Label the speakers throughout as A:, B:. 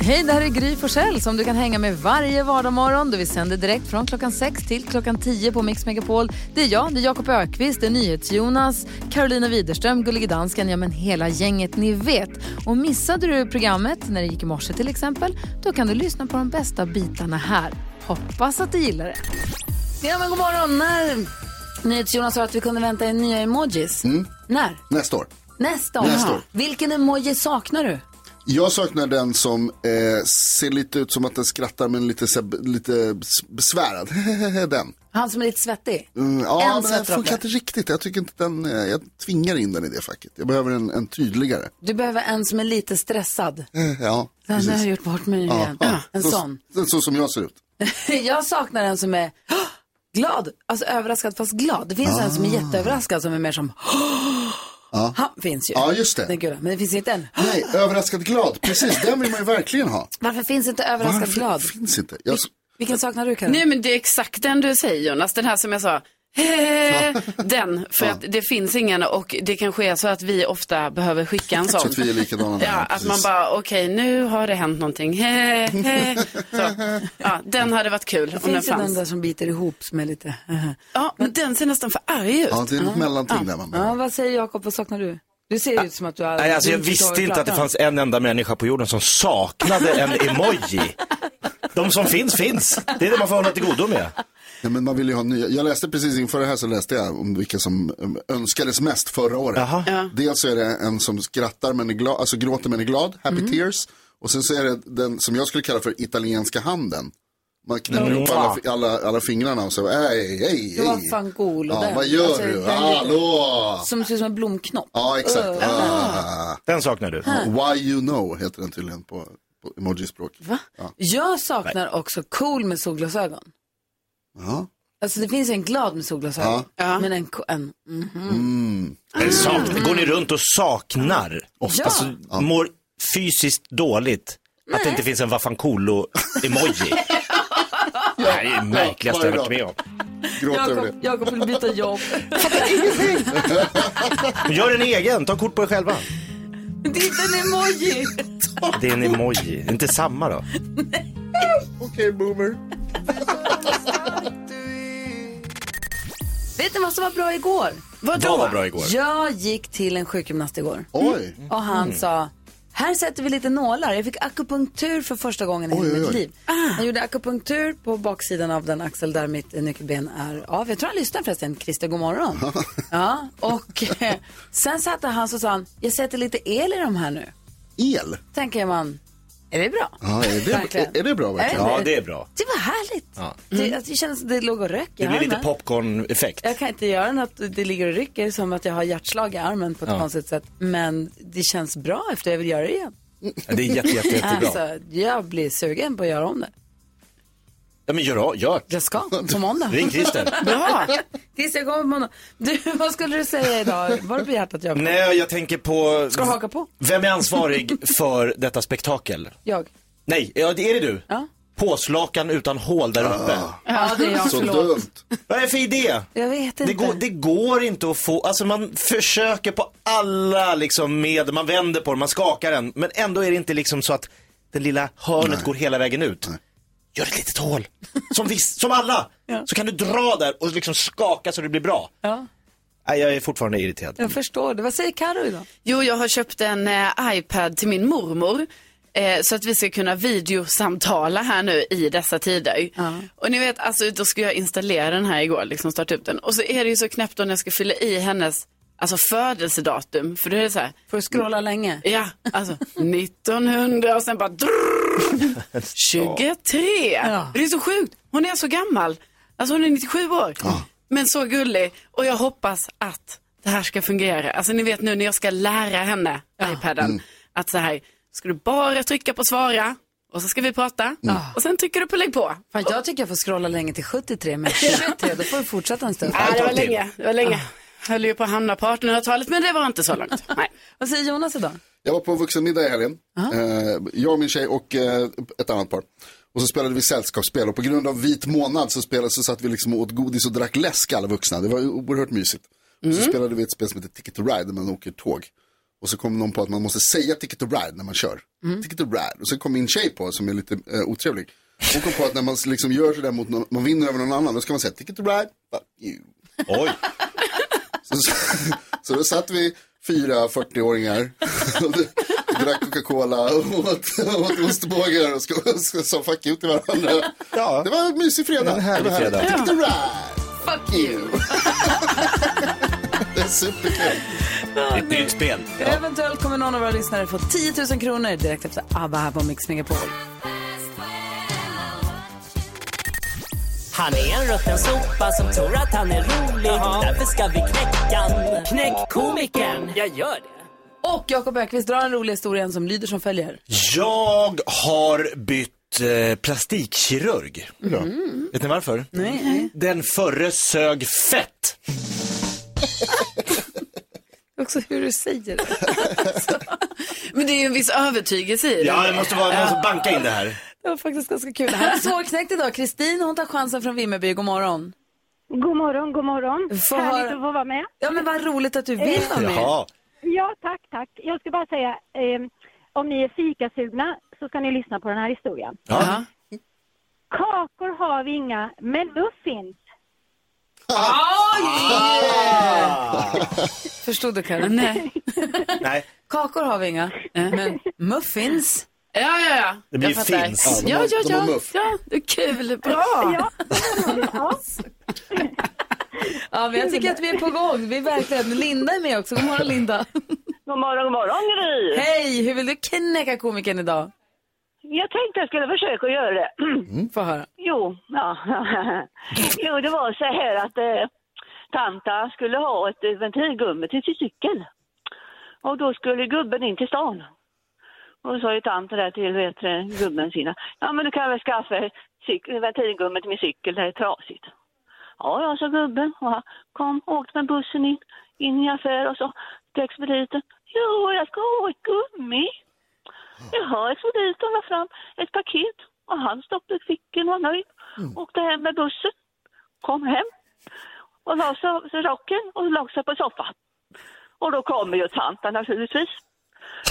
A: Hej, det här är Gry Forssell som du kan hänga med varje vardagsmorgon. Vi sänder direkt från klockan 6 till klockan 10 på Mix Megapol. Det är jag, det är Jakob Ökvist, det är NyhetsJonas, Carolina Widerström, Gullige Dansken, ja men hela gänget ni vet. Och missade du programmet när det gick i morse till exempel, då kan du lyssna på de bästa bitarna här. Hoppas att du gillar det. Ja men god morgon, när NyhetsJonas sa att vi kunde vänta en nya emojis. När?
B: Nästa år.
A: Nästa år.
B: Mm. Nästa år.
A: Vilken emoji saknar du?
B: Jag saknar den som eh, ser lite ut som att den skrattar men lite, så här- lite s- besvärad. den.
A: Han som är lite svettig?
B: Mm, ja, men den
A: svettdroppe.
B: funkar inte riktigt. Jag tycker inte den, eh, jag tvingar in den i det facket. Jag behöver en, en tydligare.
A: Du behöver en som är lite stressad.
B: Eh, Ja,
A: Den har jag
B: precis.
A: gjort bort mig nu
B: Ja,
A: igen. Ah,
B: ja.
A: En
B: Så-
A: sån.
B: Så, så som jag ser ut.
A: Jag saknar en som är "Åh!" glad, alltså överraskad fast glad. Det finns en som är jätteöverraskad som är mer som
B: Ah. Ja.
A: Han finns ju.
B: Ja, just det.
A: Den gula. Men det finns inte en.
B: Nej, överraskad glad. Precis, den vill man ju verkligen ha.
A: Varför finns inte överraskad
B: Varför
A: glad?
B: finns inte? Jag,
A: Vilken saknar du Karin?
C: Nej men det är exakt den du säger Jonas, den här som jag sa. "Eh", Den, för att det finns ingen och det kanske är så att vi ofta behöver skicka en sån.
B: så att vi är likadana där.
C: Ja, att
B: precis.
C: man bara, okej nu har det hänt någonting. "Eh, eh." Så. Ja, den hade varit kul om den
A: finns det den
C: fanns.
A: där som biter ihop med lite...
B: eh,
C: Ja, men den ser nästan för arg ut.
B: Ja, det är något mellanting där man behöver.
A: ja, vad säger Jakob, vad saknar du? Du ser ut som att du har...
D: Nej, alltså
A: du
D: jag
A: inte förstår vad
D: visste
A: vi
D: inte att det
A: pratar om.
D: fanns en enda människa på jorden som saknade en emoji. De som finns, finns. Det är det man får hålla till godo med.
B: Nej, men man vill ju ha nya. Jag läste precis inför det här så läste jag om vilka som eh, önskades mest förra året.
D: Jaha.
B: Dels så är det en som skrattar men är glad, alltså gråter men är glad, happy
A: Mm.
B: tears. Och sen så är det den som jag skulle kalla för italienska handen. Man knäpper ihop alla, alla, alla fingrarna och så, ej, ej,
A: Det var
B: ej.
A: fan cool. och
B: Ja,
A: den.
B: vad gör
A: Alltså,
B: du?
A: den är lite-
B: Hallå!
A: Som ser ut som en blomknopp.
B: Ja, exakt. Ah.
D: Den saknar du.
B: Why you know heter den tydligen på, på emojispråk.
A: Va? Jag saknar också cool med solglasögon.
B: Ja.
A: Alltså det finns en glad med solglasögon. Men en, ko- en mm.
D: Den saknar. Går ni runt och saknar?
A: Ja.
D: Alltså, mår fysiskt dåligt. Att det inte finns en vaffankolo-emoji. Det här är det märkligaste jag har varit med om.
B: Gråter över det.
A: Jakob, Jakob vill byta jobb.
D: Gör en egen, ta kort på er själva.
A: det är inte en emoji.
D: Det är en emoji, Det är inte samma då.
B: Okej, boomer.
A: Vet ni vad som var bra igår?
D: Vad var bra igår?
A: Jag gick till en sjukgymnast igår
B: Oj.
A: och han sa här sätter vi lite nålar. Jag fick akupunktur för första gången i
B: Oj,
A: hela
B: oj,
A: mitt
B: oj.
A: liv. Han gjorde akupunktur på baksidan av den axel där mitt eh, nyckelben är av. Jag tror han lyssnar förresten. Christer, god morgon. ja, och eh, sen satte han så sa han, jag sätter lite el i de här nu.
B: El.
A: Tänker man, är det bra?
B: Ja, är, det,
A: Verkligen.
B: är, är det bra verkligen?
A: Är
D: Ja, det är bra. Mm.
A: Det var härligt. Det, alltså, det kändes som det låg och rök i
D: Det blir lite
A: armen.
D: popcorn-effekt.
A: Jag kan inte göra något, det ligger och rycker som att jag har hjärtslag i armen på ett konstigt sätt. Men det känns bra efter jag vill göra det igen.
D: Det är jätte, jätte, jättebra.
A: Alltså, jag blir sugen på att göra om det.
D: Ja, men gör, av- gör.
A: Jag ska, på måndag.
D: Ring Christer.
C: Bra.
A: Tills jag kommer på måndag. Du, vad skulle du säga idag? Var det på hjärtat jag
D: Nej, jag tänker på...
A: Ska du haka på?
D: Vem är ansvarig för detta spektakel?
A: Jag.
D: Nej, ja, det är det du.
A: Ja.
D: Påslakan utan hål där uppe.
A: Ja, det är jag.
B: Så
A: Förlåt.
B: dumt.
D: Vad är det för idé?
A: Jag vet inte.
D: Det går, det går inte att få, alltså man försöker på alla liksom med, man vänder på den, man skakar den, men ändå är det inte liksom så att den lilla hörnet går hela vägen ut. Gör ett litet hål, som, viss, som alla, så kan du dra där och liksom skaka så det blir bra.
A: Ja,
D: Nej, jag är fortfarande irriterad.
A: jag förstår det. Vad säger Karo idag?
C: Jo, jag har köpt en eh, iPad till min mormor. Eh, så att vi ska kunna videosamtala här nu i dessa tider. Och ni vet, alltså då skulle jag installera den här igår, liksom starta upp den. Och så är det ju så knäppt då när jag ska fylla i hennes alltså, födelsedatum. För då är det så här,
A: Får du scrolla länge?
C: ja, alltså 1900 och sen bara drrrr, 23.
A: Ja.
C: Det är så sjukt, hon är så gammal. Alltså hon är 97 år. Men så gullig. Och jag hoppas att det här ska fungera. Alltså ni vet nu när jag ska lära henne iPaden.
D: Mm.
C: Att så här, ska du bara trycka på svara och så ska vi
D: Mm.
C: prata. Och sen trycker du på lägg på.
A: Fan, jag tycker jag får scrolla länge till 73, men 23, då får du fortsätta en stund.
C: Ah, det var
D: tag till.
C: länge, det var länge. Höll ju på att hamna på 1800-talet men det var inte så långt. Nej.
A: Vad säger Jonas idag?
B: Jag var på en vuxenmiddag i helgen. Eh, jag och min tjej och eh, ett annat par. Och så spelade vi sällskapsspel och på grund av vit månad så, spelade, så satt vi liksom och åt godis och drack läsk alla vuxna. Det var ju oerhört mysigt. Och så spelade vi ett spel som heter Ticket to Ride där man åker tåg. Och så kom någon på att man måste säga ticket to ride när man kör. Ticket to ride. Och så kom min tjej på som är lite eh, otrevlig. Hon kom på att när man liksom gör sådär mot någon, man vinner över någon annan, då ska man säga ticket to ride, fuck you.
D: Oj.
B: Så, så, så då satt vi fyra 40-åringar och drack Coca-Cola och åt, åt ostbågar och sk- och sa fuck you till varandra.
D: Ja.
B: Det var en mysig fredag.
D: En härlig
B: Det var härligt.
D: fredag.
B: Ticket to ride, fuck you. Det är superkul.
D: Ett nytt spel.
A: Eventuellt kommer någon av våra lyssnare få 10 000 kronor direkt efter ABBA här på Mix Megapol.
E: Han är en rutten sopa som tror att han är rolig. Därför ska vi knäcka han. Knäck komikern. Jag gör det.
A: Och Jakob Ökvist drar en rolig historia som lyder som följer.
D: Jag har bytt eh, plastikkirurg. Mm. Vet ni varför?
A: Nej.
D: Den förre sög fett.
A: Också hur du säger det.
C: Men det är ju en viss övertygelse i det.
D: Ja, det måste vara någon som bankar in det här.
A: Det var faktiskt ganska kul. Det här är svårknäckt idag. Kristin hon tar chansen från Vimmerby. God morgon.
F: God morgon, god morgon.
A: Får
F: Härligt
A: höra-
F: att få vara med.
A: Ja men vad roligt att du vill vara med.
D: Jaha.
F: Ja, tack, tack. Jag ska bara säga, eh, om ni är fikasugna så ska ni lyssna på den här historien.
D: Ja.
F: Kakor har vi inga, men muffins.
A: Förstod du Karin?
C: Nej.
D: Nej,
A: Kakor har vi inga, men muffins.
C: Ja, ja, ja.
D: det blir
C: Jag
D: ju
C: fattar.
D: finns.
B: de
C: Ja,
B: har-
C: ja,
B: de har
C: ja.
B: muff.
C: ja. Det är kul. Bra.
F: Ja,
A: Ja, men jag tycker att vi är på gång. Vi är verkligen. Linda är med också. God morgon Linda.
G: God morgon, god morgon Gry!
A: Hej, hur vill du knäcka komikern idag?
G: Jag tänkte jag skulle försöka göra det.
A: Få höra.
G: Jo, ja. jo, det var så här att eh, tanta skulle ha ett eh, ventilgummi till sin cykel. Och då skulle gubben in till stan. Och då sa ju tanten där till vet, du, gubben sina, ja men du kan väl skaffa cyk- ventilgummi till min cykel, det är trasigt. Ja, ja, sa gubben. Och han kom, åkte med bussen in, in i affär och så till expediten. Jo, jag ska ha ett gummi. Jaha, expediten la fram ett paket och han stoppade i fickan och var nöjd. Åkte hem med bussen, kom hem och la sig av sig rocken och la sig på soffan. Och då kommer ju tanten naturligtvis.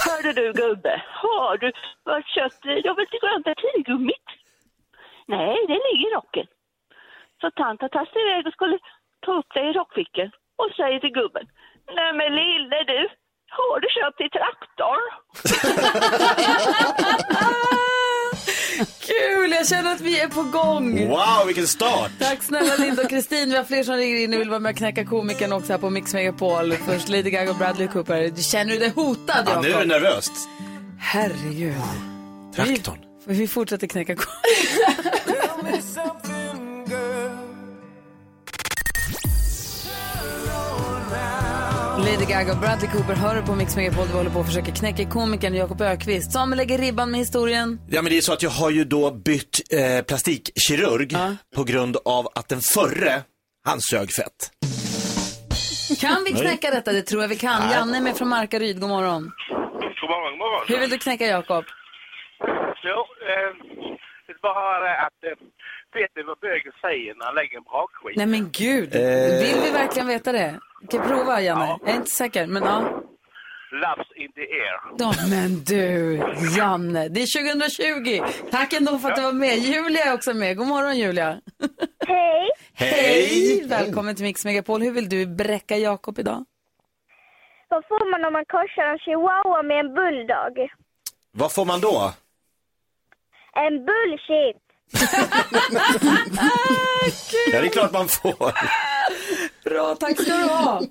G: Hörde du gubbe, har du varit kött? Jag vill inte glömma tigummit. Nej, det ligger i rocken. Så tanten tastade iväg och skulle ta upp det i rockfickan och säger till gubben. Nej men lille du, har du köpt till traktorn?
A: Kul, jag känner att vi är på gång.
D: Wow, vilken start.
A: Tack snälla Linda och Kristin. Vi har fler som ringer in och vill vara med och knäcka komikern också här på Mix Megapol. Först Lady Gaga och Bradley Cooper. Känner du dig hotad
D: Ja, nu är det
A: Jakob?
D: nervöst.
A: Herregud.
D: Traktorn.
A: Vi, vi fortsätter knäcka komikern. Lady Gaga och Bradley Cooper hör du på Mix Megapol. Vi håller på att försöka knäcka komikern Jakob Ökvist. Samuel lägger ribban med historien.
D: Ja men det är så att jag har ju då bytt eh, plastikkirurg på grund av att den förre, han sög fett.
A: Kan vi knäcka detta? Det tror jag vi kan. Janne är med från Markaryd. God morgon.
H: God morgon, god morgon.
A: Hur vill du knäcka Jakob?
H: Jo, eh, det är bara det att eh, vet ni vad bögen säger när han lägger en brakskit?
A: Nej men gud. Vill vi verkligen veta det? Vi kan prova Janne. Jag är inte säker, men ja.
H: Laps in the air.
A: Då, men du, Janne. Det är 2020. Tack ändå för att du var med. Julia är också med. God morgon Julia.
F: hej.
A: Hej! Välkommen till Mix Megapol. Hur vill du bräcka Jakob idag?
F: Vad får man om man korsar en chihuahua med en bulldog?
D: Vad får man då?
F: En bullshit.
D: Ja det är klart man får.
A: Bra, tack ska du ha.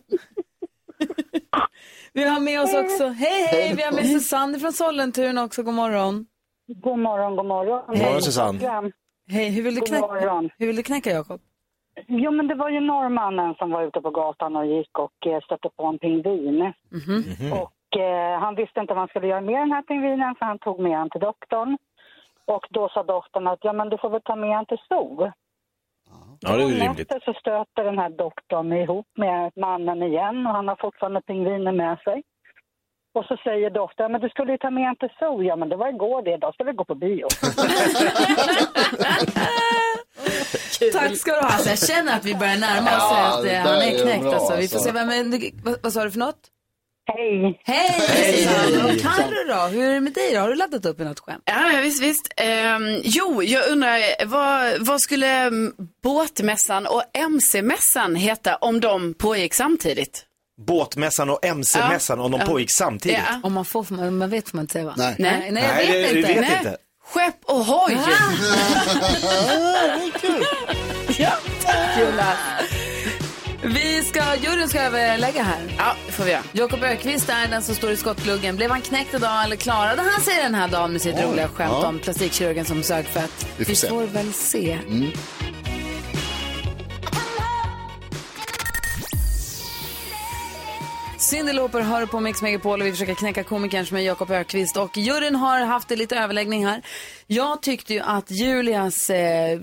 A: Vi har med oss också, hej hej, vi har med Susanne från Sollentuna också, god morgon.
G: God morgon, god morgon.
D: God morgon, Susanne.
A: Hej, hur vill du
G: God
A: knäcka,
G: morgon.
A: hur vill du knäcka Jakob?
G: Jo, men det var ju norrmannen som var ute på gatan och gick och eh, stötte på en pingvin. Och eh, han visste inte vad han skulle göra med den här pingvinen så han tog med den till doktorn. Och då sa doktorn att ja, men du får väl ta med den till zoo.
D: Ja det är
G: Dagen efter så stöter den här doktorn ihop med mannen igen och han har fortfarande pingvinen med sig. Och så säger doktorn, men du skulle ju ta med en till zoo. Ja, men det var igår det, idag ska vi gå på bio.
A: Tack ska du ha. Alltså, jag känner att vi börjar närma oss
B: Ja,
A: att
B: det
A: eh,
B: där
A: han
B: är
A: är knäckt
B: bra,
A: alltså. Vi får se,
B: alltså.
A: vem, men, vad, vad sa du för något?
F: Hej!
A: Hej! Susanne. Och Carro då, hur är det med dig då? Har du laddat upp i något skämt?
C: Ja, ja, visst, visst. Ehm, jo, jag undrar, eh, vad, vad skulle mm, båtmässan och MC-mässan heta om de pågick samtidigt?
D: Båtmässan och MC-mässan om de
C: Ja.
D: pågick samtidigt.
C: Ja.
A: Om man får, får man, man vet får man inte säga va?
B: Nej.
A: Nej, nej jag
D: Nej,
A: vet
D: det- vi
A: inte.
D: vet
A: nej.
D: inte.
C: Skepp och hoj! ja, tack Jonas.
A: Vi ska, juryn ska överlägga här.
C: Ja, det får vi göra.
A: Jakob Ökvist är den som står i skottgluggen. Blev han knäckt idag eller klarade han sig den här dagen med sitt roliga skämt
B: ja.
A: om plastikkirurgen som sög fett?
B: Vi får se. Mm.
A: får väl se. Cyndi Lauper hör på Mix Megapol och vi försöker knäcka komikern som är Jakob Ökvist och juryn har haft en lite överläggning här. Jag tyckte ju att Julias, eh,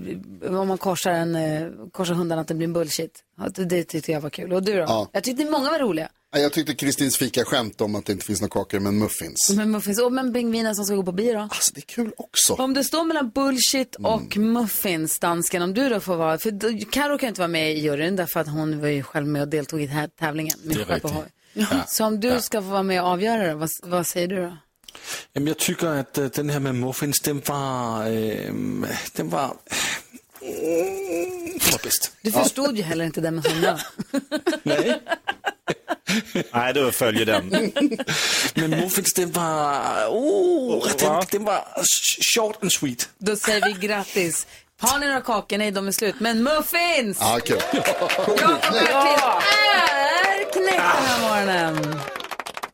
A: om man korsar, en, eh, korsar hundarna att det blir en bullshit. Att Det tyckte jag var kul. Och du då?
B: Ja.
A: Jag tyckte många var roliga.
B: Nej, Jag tyckte Kristins fika skämt om att det inte finns några kakor men muffins.
A: Men muffins, och men pingviner som ska gå på bio då?
B: Alltså Mm. det är Mm, kul också.
A: Om det står mellan bullshit och muffins, dansken, om du då får vara, för då- Karo kan ju inte vara med i juryn därför att hon var ju själv med och deltog i den här tävlingen med Skepp och Hoj. Så om du ska få vara med och avgöra det, vad, vad säger du då?
I: Jamen, jeg tycker, at øh, den her med muffins, den var... Øh, den var... Den var bedst.
A: Du förstod ju heller inte det med hundarna.
I: Nej,
D: Nej, då följer den.
I: men muffins, den var...
J: oh.
I: Uh, den, den var s- short and sweet.
A: Då säger vi grattis. Har ni några kakor? Nej, de är slut. Men muffins!
B: Ja, kul.
A: Jakob Öqvist är knäckt den här morgonen.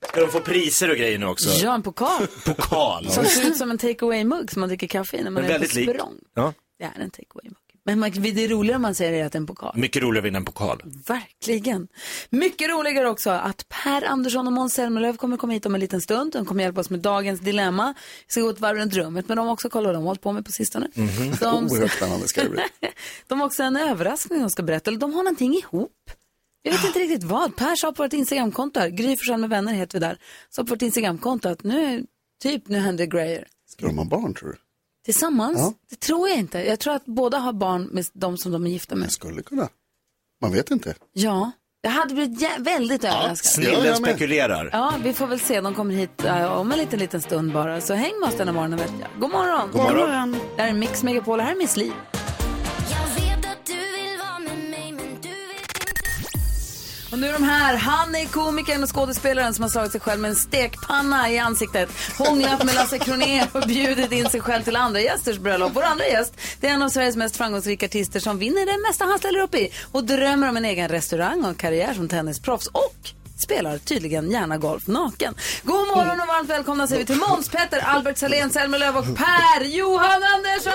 D: Ska de få priser och grejer nu också?
A: Ja, en pokal
D: Pokal.
A: som ser ut som en take away-mugg som man dricker kaffe i när man
D: Men
A: är på
D: väldigt lik.
A: språng.
D: Ja.
A: Det är en take away-mugg. Men man, det är roligare om man säger att det är en pokal.
D: Mycket roligare att vinna en pokal.
A: Verkligen. Mycket roligare också att Per Andersson och Måns Zelmerlöw kommer komma hit om en liten stund. De kommer hjälpa oss med dagens dilemma. Vi ska gå ett varv runt rummet med dem också, kolla vad de har hållit på med på sistone.
D: Mhm.
B: Oerhört
D: Oh,
A: de,
B: spännande ska det bli.
A: de har också en överraskning de ska berätta, eller de har någonting ihop. Jag vet inte riktigt vad. Per sa på vårt Instagramkonto, här, Gry Forssell med vänner heter vi där, sa på vårt Instagramkonto att nu, typ, nu händer grejer.
B: Ska de ha barn tror du?
A: Tillsammans?
B: Ja.
A: Det tror jag inte. Jag tror att båda har barn med de som de är gifta med.
B: Jag skulle kunna. Man vet inte.
A: Ja, jag hade blivit jä- väldigt överraskad.
B: Ja,
D: Snillen
B: jag med.
D: spekulerar.
A: Ja, vi får väl se. De kommer hit eh, om en liten, liten stund bara. Så häng med oss denna morgon, vet jag. God morgon!
D: God morgon.
A: Det här är Mix Megapol, det här är Miss Li. Och nu är de här. Han är komikern och skådespelaren som har slagit sig själv med en stekpanna i ansiktet, hånglat med Lasse Kronér och bjudit in sig själv till andra gästers bröllop. Vår andra gäst, det är en av Sveriges mest framgångsrika artister som vinner det mesta han ställer upp i och drömmer om en egen restaurang och en karriär som tennisproffs och spelar tydligen gärna golf naken. God morgon och varmt välkomna säger vi till Måns Petter, Albert Salén, Selma Löf och Per Johan Andersson!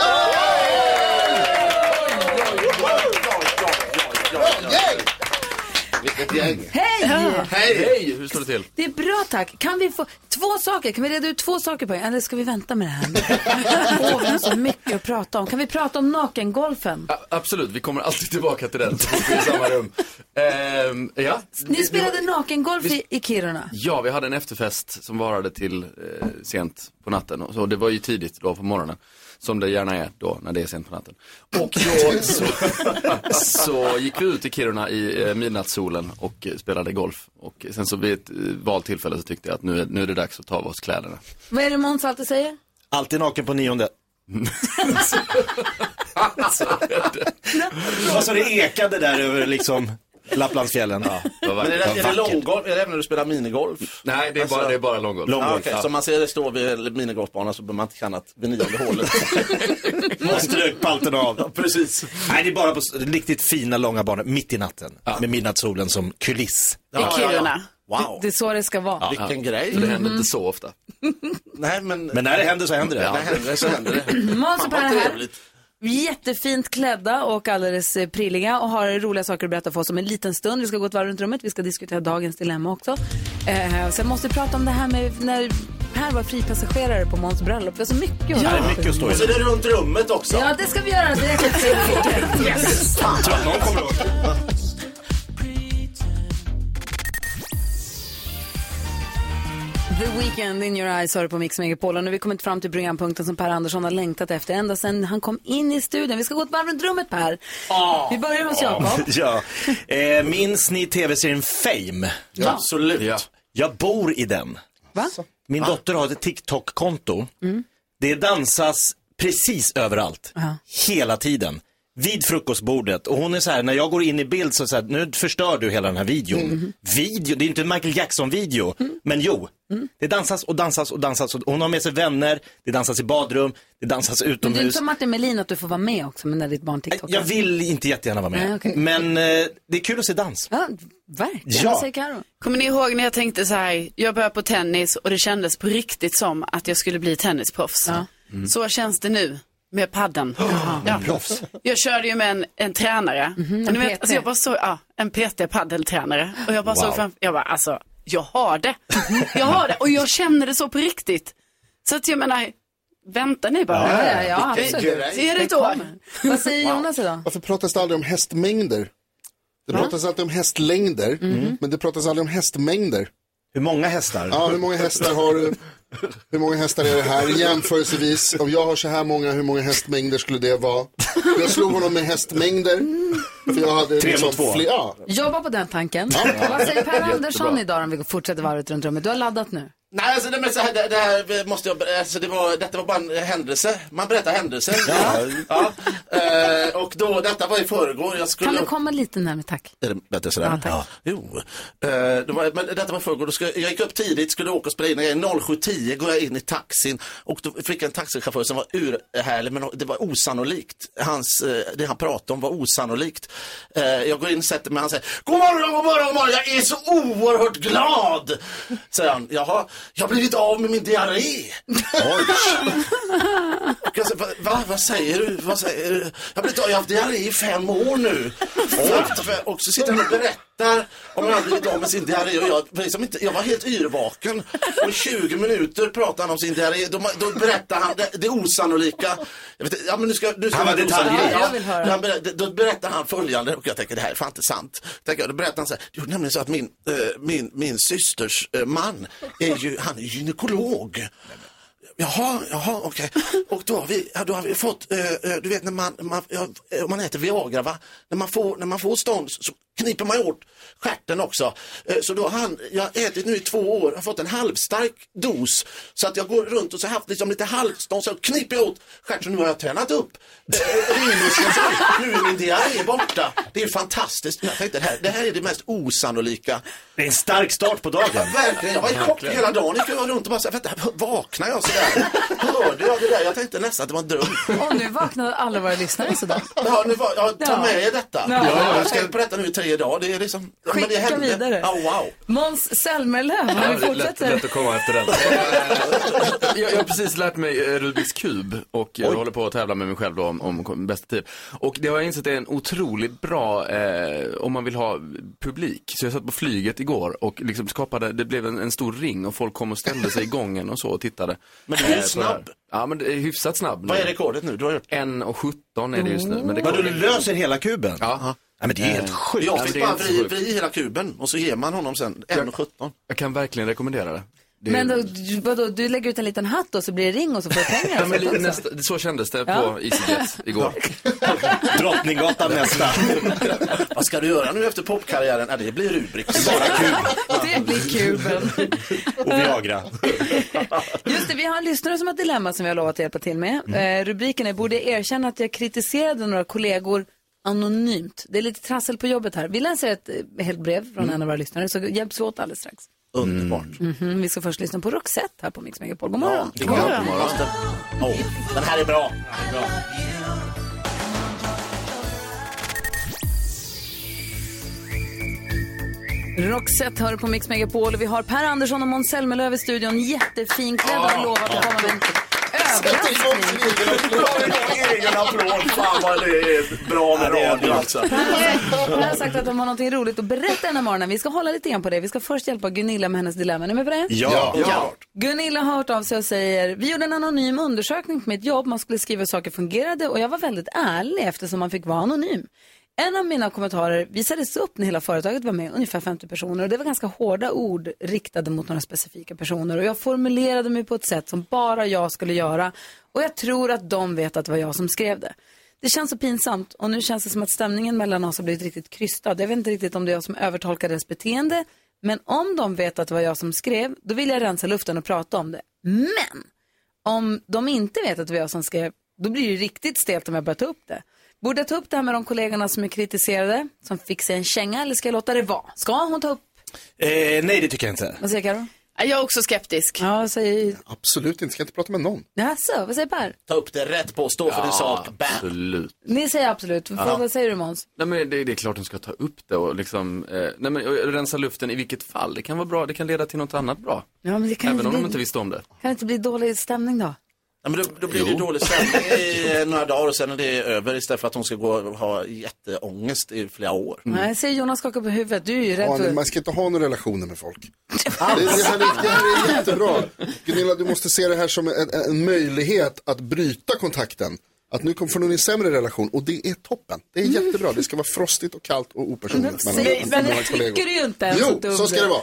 J: Vilket gäng.
A: Hej!
J: Hej! Hej! Hur står det till?
A: Det är bra tack. Kan vi få två saker? Kan vi reda ut två saker på en? Eller ska vi vänta med det här? Åh, vi har så mycket att prata om. Kan vi prata om nakengolfen?
J: A- absolut, vi kommer alltid tillbaka till den. så fort vi är i samma rum. Ehm, ja.
A: Ni spelade nakengolf i,
J: vi-
A: i Kiruna.
J: Ja, vi hade en efterfest som varade till eh, sent på natten. Och så, det var ju tidigt då på morgonen. Som det gärna är då när det är sent på natten. Och då så, så gick vi ut i Kiruna i eh, midnattssolen och eh, spelade golf. Och sen så vid ett eh, valt tillfälle så tyckte jag att nu är, nu är det dags att ta av oss kläderna.
A: Vad är det Måns alltid säger?
D: Alltid naken på nionde. Och så Alltså, det ekade där över liksom Lapplandsfjällen.
J: Vad
K: Men är
J: vackert.
K: det, är det
D: Vackert.
K: långgolf? Är det även när du spelar minigolf?
J: Nej, det är bara, det är bara långgolf.
K: Ah,
D: Långgolf.
K: okej. Så om man ser det stå vid minigolfbanan så behöver man inte känna att vid nionde hålet.
D: Måste rök palten av.
K: Precis.
D: Nej, det är bara på s- riktigt fina långa banor, mitt i natten. Med midnattssolen som kuliss.
K: Ja,
C: I
K: ja, ja.
C: Kiruna.
K: Wow.
A: Det är så det ska vara.
K: Vilken
J: För det
K: grej.
J: händer inte så ofta.
K: Nej, men...
D: Men när det händer så händer det.
K: När det händer det så händer det.
A: Måns och Per är här.
K: trevligt.
A: Jättefint klädda och alldeles eh, prilliga och har roliga saker att berätta för oss om en liten stund. Vi ska gå ett varv runt rummet. Vi ska diskutera dagens dilemma också. Eh, sen måste vi prata om det här med när Per var fripassagerare på Måns bröllop. Vi har så mycket att
D: Det är mycket att stå i.
K: Och så är det runt rummet också.
A: Ja, det ska vi göra direkt efter musiken.
D: Tror att någon kommer ihåg.
A: The Weekend in your eyes har du på Mix Megapol och nu har vi kommit fram till programpunkten som Per Andersson har längtat efter ända sedan han kom in i studion. Vi ska gå ett varv runt rummet Per. Vi börjar hos Jakob.
D: Ja. Eh, minns ni tv-serien Fame?
J: Absolut. Ja.
D: Jag bor i den.
A: Va?
D: Min dotter har ett TikTok-konto.
A: Mm.
D: Det dansas precis överallt.
A: Ja.
D: Hela tiden. Vid frukostbordet. Och hon är så här, när jag går in i bild så är det så här, nu förstör du hela den här videon.
A: Mhm.
D: Video, det är inte en Michael Jackson-video,
A: Mm.
D: men jo. Det dansas och dansas och dansas. Och hon har med sig vänner, det dansas i badrum, det dansas
A: Men det är
D: utomhus.
A: inte som Martin Melin att du får vara med också men när ditt barn TikTokar.
D: Jag vill inte jättegärna vara med.
A: Nej, okej.
D: Men eh, det är kul att se dans.
A: Ja, verkligen.
D: Ja.
C: Kommer ni ihåg när jag tänkte så här, jag började på tennis och det kändes på riktigt som att jag skulle bli tennisproffs.
E: Mm.
C: Så känns det nu med padden. Ja.
E: Proffs.
C: Jag körde ju med en, en tränare.
E: Mhm,
C: och
E: en
C: ni vet,
E: PT.
C: alltså jag bara såg, ja, en PT paddeltränare. Och jag bara
E: Wow.
C: såg framför, jag bara alltså, jag har det.
E: Mhm.
C: Jag har det och jag känner det så på riktigt. Så att jag menar, vänta ni bara.
A: Ja, ja, ja,
C: Vilken
A: absolut.
C: grej. Ge det ett år.
A: Vad säger Jonas idag?
B: Varför pratas Alltså, det aldrig om hästmängder? Det pratas alltid om hästlängder,
A: Mhm.
B: men det pratas aldrig om hästmängder.
D: Hur många hästar?
B: Ja, hur många hästar har du? Hur många hästar är det här? Jämförelsevis, om jag har så här många, hur många hästmängder skulle det vara? Jag slog honom med hästmängder. För jag hade liksom
D: Tre mot två.
B: fler- ja.
A: Jobba på den tanken.
B: Ja.
A: Vad säger Per
B: Jättebra.
A: Andersson idag om vi fortsätter varvet runt rummet? Du har laddat nu.
K: Nej, alltså, det, men, så här, det, det här måste jag, alltså, det var, detta var bara en händelse. Man berättar händelser. Ja. Eh, och då, detta var i förrgår. Jag skulle...
A: Kan du komma lite närmare tack?
K: Är det bättre sådär?
A: Ja, tack.
K: Jo. Eh, det var, men detta var i förrgår. Då ska, jag gick upp tidigt, skulle åka och spela in. När jag är 07.10 går jag in i taxin och då fick jag en taxichaufför som var urhärlig, men det var osannolikt. Hans, eh, det han pratade om var osannolikt. Eh, jag går in och sätter mig, han säger God morgon, god morgon, god morgon, jag är så oerhört glad! Säger han, jaha, jag har blivit av med min diarré. Och jag säger, Alltså, "Va- Va, vad säger du? Vad säger du? Jag, har blivit, jag har haft diarré i fem år nu. Fruktansvärt. Och så sitter han och berättar om hur han blivit av med sin diarré. Och jag, var liksom inte, jag var helt yrvaken. Och i 20 minuter pratar han om sin diarré. Då, då berättar han det, det osannolika. Jag vet, inte, ja, men nu ska, nu ska
D: Han var
K: jag-
D: detaljerad.
K: Ja,
D: Jag vill höra.
K: han ber- då berättar han följande och jag tänker det här är fan inte sant. Tänker, jag, då berättar han så här, det gjorde nämligen så att min, eh, min, min systers eh, man är ju, han är gynekolog. Jaha, jaha, okej. Och då har vi, ja, då har vi fått, eh, eh, du vet när man, man, ja, eh, om man äter Viagra va, när man får, när man får stånd så- så kniper man ju åt stjärten också. Eh, så då har han, jag har ätit nu i två år, jag har fått en halvstark dos. Så att jag går runt och så har jag haft liksom lite halvstånd, så kniper jag åt stjärten, så nu har jag tränat upp. Eh, ringmuskeln, så nu är min diarré borta. Det är ju fantastiskt. Jag tänkte, det, här, det här är det mest osannolika.
D: Det är en stark start på dagen.
K: Verkligen, jag var i chock
D: Verkligen.
K: hela dagen. Gick jag runt och bara så här, vänta, vaknar jag sådär? Hörde jag det där? Jag tänkte nästan att det var en dröm.
A: Och nu vaknade alla våra lyssnare sådär.
K: Ja, nu var, ja, ta
A: Ja.
K: med er detta.
A: Ja.
K: Jag ska på detta nu i tre dagar. Det är liksom, ja, men det
A: Skicka
K: hände.
A: vidare.
K: Ja, wow.
A: Måns Zelmerlöw,
J: Ja,
A: om vi
J: det är lätt,
A: fortsätter.
J: lätt att komma efter den. jag, jag har precis lärt mig eh, Rubiks kub och jag håller på att tävla med mig själv då om, om bästa tid. Och det har jag insett är en otroligt bra, eh, om man vill ha publik. Så jag satt på flyget igår och liksom skapade, det blev en, en stor ring och folk kom och ställde sig i gången och så och tittade.
K: Men du är
J: eh,
K: ju
J: på det här.
K: snabb.
J: Ja, men det är hyfsat snabb.
K: Vad är rekordet nu? Du har gjort
J: 1.17 är det just nu. Men, det
D: Men du
J: kommer-
D: löser hela kuben?
J: Ja.
D: Ja, men det är helt
J: Eh,
D: sjukt.
J: ja,
K: Jag
J: det
K: fick
J: är
K: bara
J: inte så
K: vri,
J: sjukt.
K: vri hela kuben och så ger man honom sen
J: Jag-
K: 1,17.
J: Jag kan verkligen rekommendera det. det
A: Men då, du- vadå, du lägger ut en liten hatt och så blir det ring och så får du pengar.
J: Ja, men
A: alltså.
J: li- nästa, så kändes det
A: Ja.
J: på EasyJet igår.
D: Drottninggatan nästa.
K: Vad ska du göra nu efter popkarriären? Ja, det blir rubrik.
A: Det blir kuben.
D: Och Viagra.
J: Mm.
A: Just det, vi har en lyssnare som har ett dilemma som vi har lovat att hjälpa till med.
J: Mm.
A: Eh, rubriken är Borde jag erkänna att jag kritiserade några kollegor anonymt? Det är lite trassel på jobbet här. Vi läser ett eh, helt brev
J: Mm.
A: från en av våra lyssnare så hjälps vi åt alldeles strax.
K: Underbart.
J: Mm.
A: Mhm, Vi ska först lyssna på Roxette här på Mix Megapol. God morgon.
K: God morgon. God morgon. Åh, den här är bra.
A: Roxette hör på Mix Megapol och vi har Per Andersson och Måns Zelmerlöw i studion. Jättefinklädda och har lovat att komma med en
K: Egen applåd. Fan vad det är bra med radio alltså.
A: Per har sagt att de har något roligt att berätta den här morgonen. Vi ska hålla lite grann på det. Vi ska först hjälpa Gunilla med hennes dilemma. Är ni med på det?
E: Ja.
K: Ja.
A: Gunilla har hört av sig och säger, vi gjorde en anonym undersökning på mitt jobb. Man skulle skriva hur saker fungerade och jag var väldigt ärlig eftersom man fick vara anonym. En av mina kommentarer visades upp när hela företaget var med, ungefär 50 personer. Och det var ganska hårda ord riktade mot några specifika personer. Och jag formulerade mig på ett sätt som bara jag skulle göra. Och jag tror att de vet att det var jag som skrev det. Det känns så pinsamt och nu känns det som att stämningen mellan oss har blivit riktigt krystad. Jag vet inte riktigt om det är jag som övertolkar deras beteende Men om de vet att det var jag som skrev, då vill jag rensa luften och prata om det. Men om de inte vet att det var jag som skrev, då blir det ju riktigt stelt om jag börjar ta upp det. Borde jag ta upp det här med de kollegorna som är kritiserade, som fick sig en känga, eller ska jag låta det vara? Ska hon ta upp?
D: Eh, nej, det tycker jag inte.
A: Vad säger Karo?
C: Jag är också skeptisk.
A: Ja, vad säger...
B: Absolut inte, ska inte prata med någon.
A: Jaså, vad säger Per?
K: Ta upp det rätt på, stå för din sak. Bam.
J: Absolut.
A: Ni säger absolut. Vad-
J: Ja.
A: Vad säger du Måns?
J: Nej men det, det är klart de ska ta upp det och liksom, eh, nej men och rensa luften i vilket fall. Det kan vara bra, det kan leda till något annat bra.
A: Ja, men det kan
J: Även
A: inte
J: om de
A: bli-
J: inte visste om det.
A: Kan det inte bli dålig stämning då?
K: Ja, men då, då blir det ju dålig stämning i eh, några dagar och sen är det över istället för att hon ska gå och ha jätteångest i flera år.
J: Mm.
A: Nej, jag ser Jonas skaka på huvudet. Du är ju
B: Ja,
A: rädd
B: nej,
A: för...
B: man ska inte ha några relationer med folk. Det, det, här, är- det här är jättebra. Gunilla, du måste se det här som en, en möjlighet att bryta kontakten. Att nu kommer från en sämre relation och det är toppen. Det är jättebra. Det ska vara frostigt och kallt och opersonligt mellan,
C: Men- Mm. men
B: mellan
C: det
B: kollegor.
C: tycker du ju inte ens att
B: Jo,
C: du-
B: så ska det vara.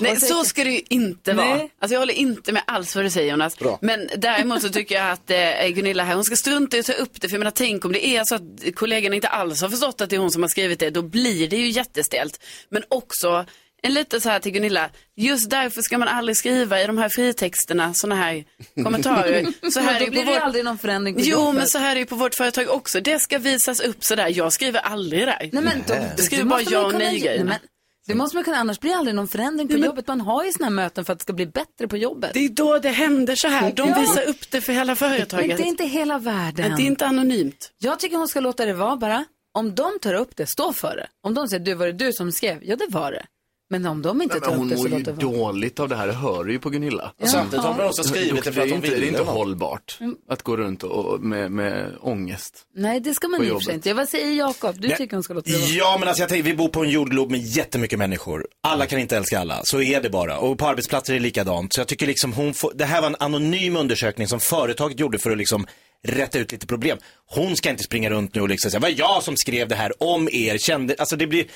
C: Nej, så ska det ju inte vara.
B: Nej.
C: Alltså, jag håller inte med alls vad du säger Jonas. Men däremot så tycker jag att eh, Gunilla här, hon ska strunta i att ta upp det. För jag menar, tänk om det är så att kollegorna inte alls har förstått att det är hon som har skrivit det. Då blir det ju jättestelt. Men också, en liten så här till Gunilla. Just därför ska man aldrig skriva i de här fritexterna sådana här kommentarer. Så
A: Men
C: här
A: då
C: är ju
A: blir
C: på
A: det ju
C: vårt...
A: aldrig någon förändring på
C: Jo,
A: jobbet.
C: men så här är ju på vårt företag också. Det ska visas upp sådär. Jag skriver aldrig där.
A: Nej, men då,
C: jag skriver
A: det
C: bara
A: måste
C: ja
A: man
C: och
A: kunna
C: nej
A: ge- Nej,
C: grejerna.
A: men Det måste man kunna, annars blir det aldrig någon förändring på jobbet. Man har ju såna här möten för att det ska bli bättre på jobbet.
C: Det är då det händer så här. De
A: Ja.
C: visar upp det för hela företaget.
A: Men det är inte hela världen.
C: Men det är inte anonymt.
A: Jag tycker hon ska låta det vara bara. Om de tar upp det, stå för det. Om de säger, du var det du som skrev? Ja, det var det. Men om de inte
J: Nej,
A: tar
J: men hon
A: upp det så
J: mår ju
A: låt det vara.
J: dåligt av det här, det hör ju på Gunilla.
A: Ja. Samtidigt har hon väl också skrivit
J: Och
A: det för
J: är
A: att hon
J: inte, Det
A: ville
J: är inte
A: va?
J: hållbart att gå runt och, och med, med ångest.
A: Nej, det ska man
J: På
A: i och för sig
J: jobbet.
A: inte. Vad säger Jakob? Du
D: Nej.
A: tycker hon ska låta det vara.
D: Ja, men alltså jag tänker, vi bor på en jordglob med jättemycket människor. Alla kan inte älska alla, så är det bara. Och på arbetsplatser är det likadant. Så jag tycker liksom hon får, det här var en anonym undersökning som företaget gjorde för att liksom rätta ut lite problem. Hon ska inte springa runt nu och liksom säga, vad jag som skrev det här om er, kände, alltså det blir,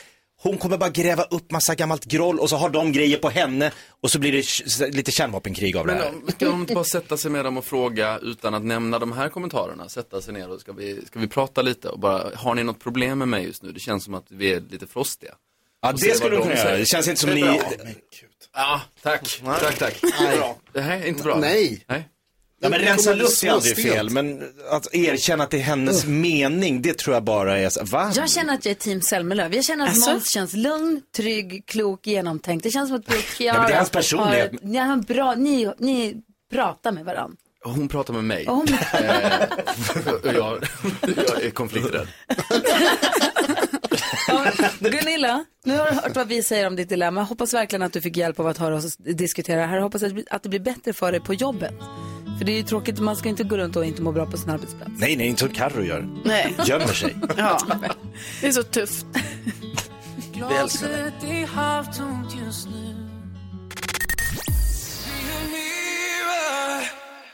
D: hon kommer bara gräva upp massa gammalt groll och så har de grejer på henne och så blir det k- lite kärnvapenkrig av det
J: Men
D: här.
J: de, ska de inte bara sätta sig med dem och fråga utan att nämna de här kommentarerna? Sätta sig ner och ska vi, ska vi prata lite och bara, har ni något problem med mig just nu? Det känns som att vi är lite frostiga.
D: Ja,
J: Och se
D: det skulle du
J: vad de
D: kunna göra.
J: säger.
D: Det känns inte som
J: är
D: ni...
J: bra. Ja, tack. Tack, tack. Nej. Nej, inte bra.
D: Nej.
J: Nej.
D: Ja, men
J: Det
D: rensa
J: kommer bli
D: luft är aldrig
J: småstelt.
D: fel, men att erkänna att det är hennes mening, det tror jag bara är så, va?
A: Jag känner att jag är team Selmelöv. Jag känner att
D: Alltså?
A: Måns känns lugn, trygg, klok, genomtänkt. Det känns som att du och Kiara
J: Ja, men det är hans personlighet.
A: har- ni har en bra, ni, ni pratar med varandra.
J: Hon pratar med mig.
A: Och hon-
J: Eh, och jag, jag är konflikträdd.
A: Gunilla, nu har du hört vad vi säger om ditt dilemma. Jag Hoppas verkligen att du fick hjälp av att höra oss diskutera det här. Jag Hoppas att det blir- att det blir bättre för dig på jobbet. För det är ju tråkigt, man ska inte gå runt och inte må bra på sin arbetsplats.
D: Nej, nej, inte som Carro gör.
C: Nej.
D: Gömmer sig.
C: Ja. Det är så tufft.
D: Vi älskar dig.
E: är halvtomt just nu.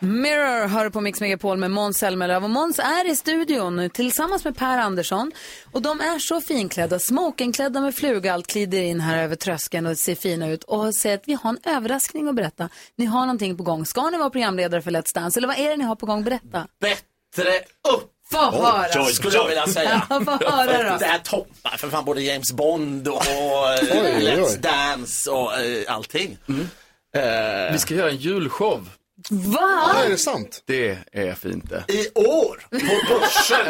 A: Mirror hör på Mix Megapol med Måns Zelmerlöw och Måns är i studion tillsammans med Per Andersson och de är så finklädda, smokingklädda med fluga, allt klider in här över tröskeln och ser fina ut och säger att vi har en överraskning att berätta. Ni har någonting på gång. Ska ni vara programledare för Let's Dance eller vad är det ni har på gång? Berätta.
K: Bättre upp!
A: Få höra.
K: skulle jag vilja säga.
A: Ja, få höra då.
K: Det här toppar för fan både James Bond och eh,
J: Oj, oj.
K: Let's Dance och eh, allting. Eh,
J: Vi ska göra en julshow.
A: Va?
J: är det sant? Det är fint det.
K: I år, på börsen,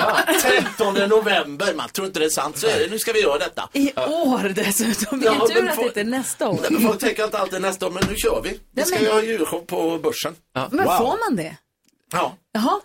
K: 13 november. Man tror inte det är sant, så är det. Nu ska vi göra detta.
A: I år dessutom. Vilken
K: Ja, men
A: tur att
K: får-
A: det inte är nästa år.
K: Nej, men Folk tänker inte alltid nästa år, men nu kör vi. Vi
A: Nej,
K: ska
A: men-
K: göra julshow på börsen.
A: Men får man det?
K: Ja.
A: Jaha.